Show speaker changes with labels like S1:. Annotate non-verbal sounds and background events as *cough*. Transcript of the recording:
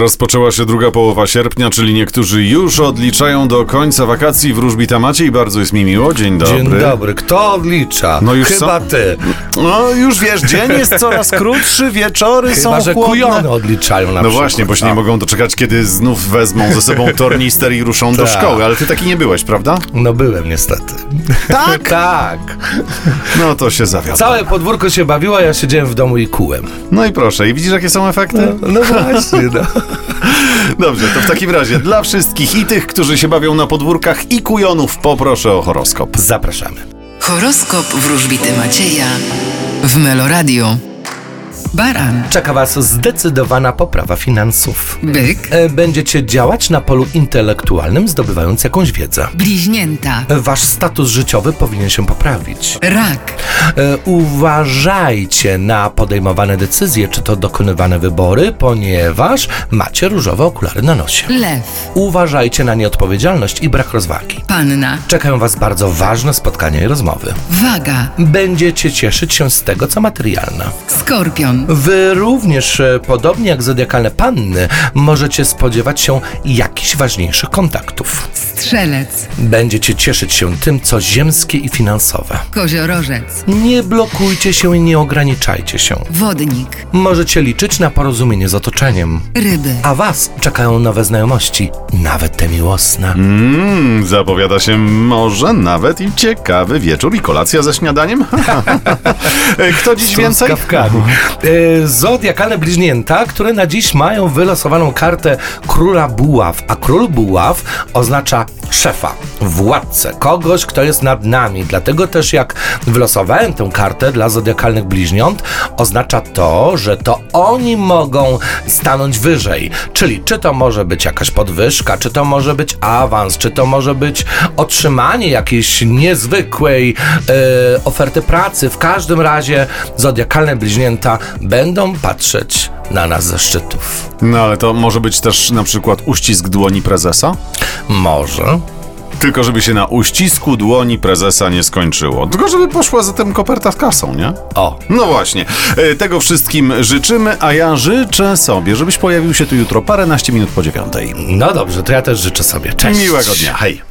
S1: Rozpoczęła się druga połowa sierpnia, czyli niektórzy już odliczają do końca wakacji. Wróżbita Maciej, bardzo jest mi miło. Dzień dobry.
S2: Dzień dobry. Kto odlicza?
S1: No już
S2: Chyba
S1: są-
S2: ty.
S1: No już wiesz, dzień jest
S2: *laughs*
S1: coraz krótszy, wieczory
S2: Chyba,
S1: są
S2: że
S1: chłodne.
S2: kujone odliczają na
S1: No
S2: przykład.
S1: właśnie, bo się nie
S2: A.
S1: mogą doczekać, kiedy znów wezmą ze
S2: *laughs*
S1: sobą tornister i ruszą do
S2: Tak.
S1: szkoły. Ale ty taki nie byłeś, prawda?
S2: No byłem niestety.
S1: Tak?
S2: *laughs* tak.
S1: No to się zawiodło.
S2: Całe podwórko się bawiło, a ja siedziałem w domu i kułem.
S1: No i proszę, i widzisz jakie są efekty?
S2: No właśnie, no.
S1: Dobrze, to w takim razie dla wszystkich i tych, którzy się bawią na podwórkach i kujonów, poproszę o horoskop.
S2: Zapraszamy.
S3: Horoskop wróżbity Macieja w Meloradio. Baran,
S2: Czeka Was zdecydowana poprawa finansów.
S3: byk,
S2: E, Będziecie działać na polu intelektualnym, zdobywając jakąś wiedzę.
S3: bliźnięta,
S2: E, Wasz status życiowy powinien się poprawić.
S3: rak,
S2: E, Uważajcie na podejmowane decyzje, czy to dokonywane wybory, ponieważ macie różowe okulary na nosie.
S3: lew,
S2: Uważajcie na nieodpowiedzialność i brak rozwagi.
S3: panna,
S2: Czekają Was bardzo ważne spotkania i rozmowy.
S3: waga,
S2: Będziecie cieszyć się z tego, co materialne.
S3: skorpion,
S2: Wy również, e, podobnie jak zodiakalne panny, możecie spodziewać się jakichś ważniejszych kontaktów.
S3: strzelec,
S2: Będziecie cieszyć się tym, co ziemskie i finansowe.
S3: koziorożec,
S2: Nie blokujcie się i nie ograniczajcie się.
S3: wodnik,
S2: Możecie liczyć na porozumienie z otoczeniem.
S3: ryby,
S2: A Was czekają nowe znajomości, nawet te miłosne.
S1: Mm, zapowiada się może nawet i ciekawy wieczór i kolacja ze śniadaniem. *laughs* Kto dziś więcej?
S2: truskawkami. E, Zodiakalne bliźnięta, które na dziś mają wylosowaną kartę króla buław, a król buław oznacza szefa, władcę, kogoś, kto jest nad nami. Dlatego też jak wylosowałem tę kartę dla zodiakalnych bliźniąt, oznacza to, że to oni mogą stanąć wyżej. Czyli czy to może być jakaś podwyżka, czy to może być awans, czy to może być otrzymanie jakiejś niezwykłej e, oferty pracy. W każdym razie zodiakalne bliźnięta będą patrzeć na nas ze szczytów.
S1: No ale to może być też na przykład uścisk dłoni prezesa?
S2: Może.
S1: Tylko żeby się na uścisku dłoni prezesa nie skończyło. Tylko żeby poszła za tym koperta z kasą, nie?
S2: O.
S1: No właśnie, E, tego wszystkim życzymy, a ja życzę sobie, żebyś pojawił się tu jutro paręnaście minut po dziewiątej.
S2: No dobrze, to ja też życzę sobie. Cześć.
S1: Miłego dnia, hej!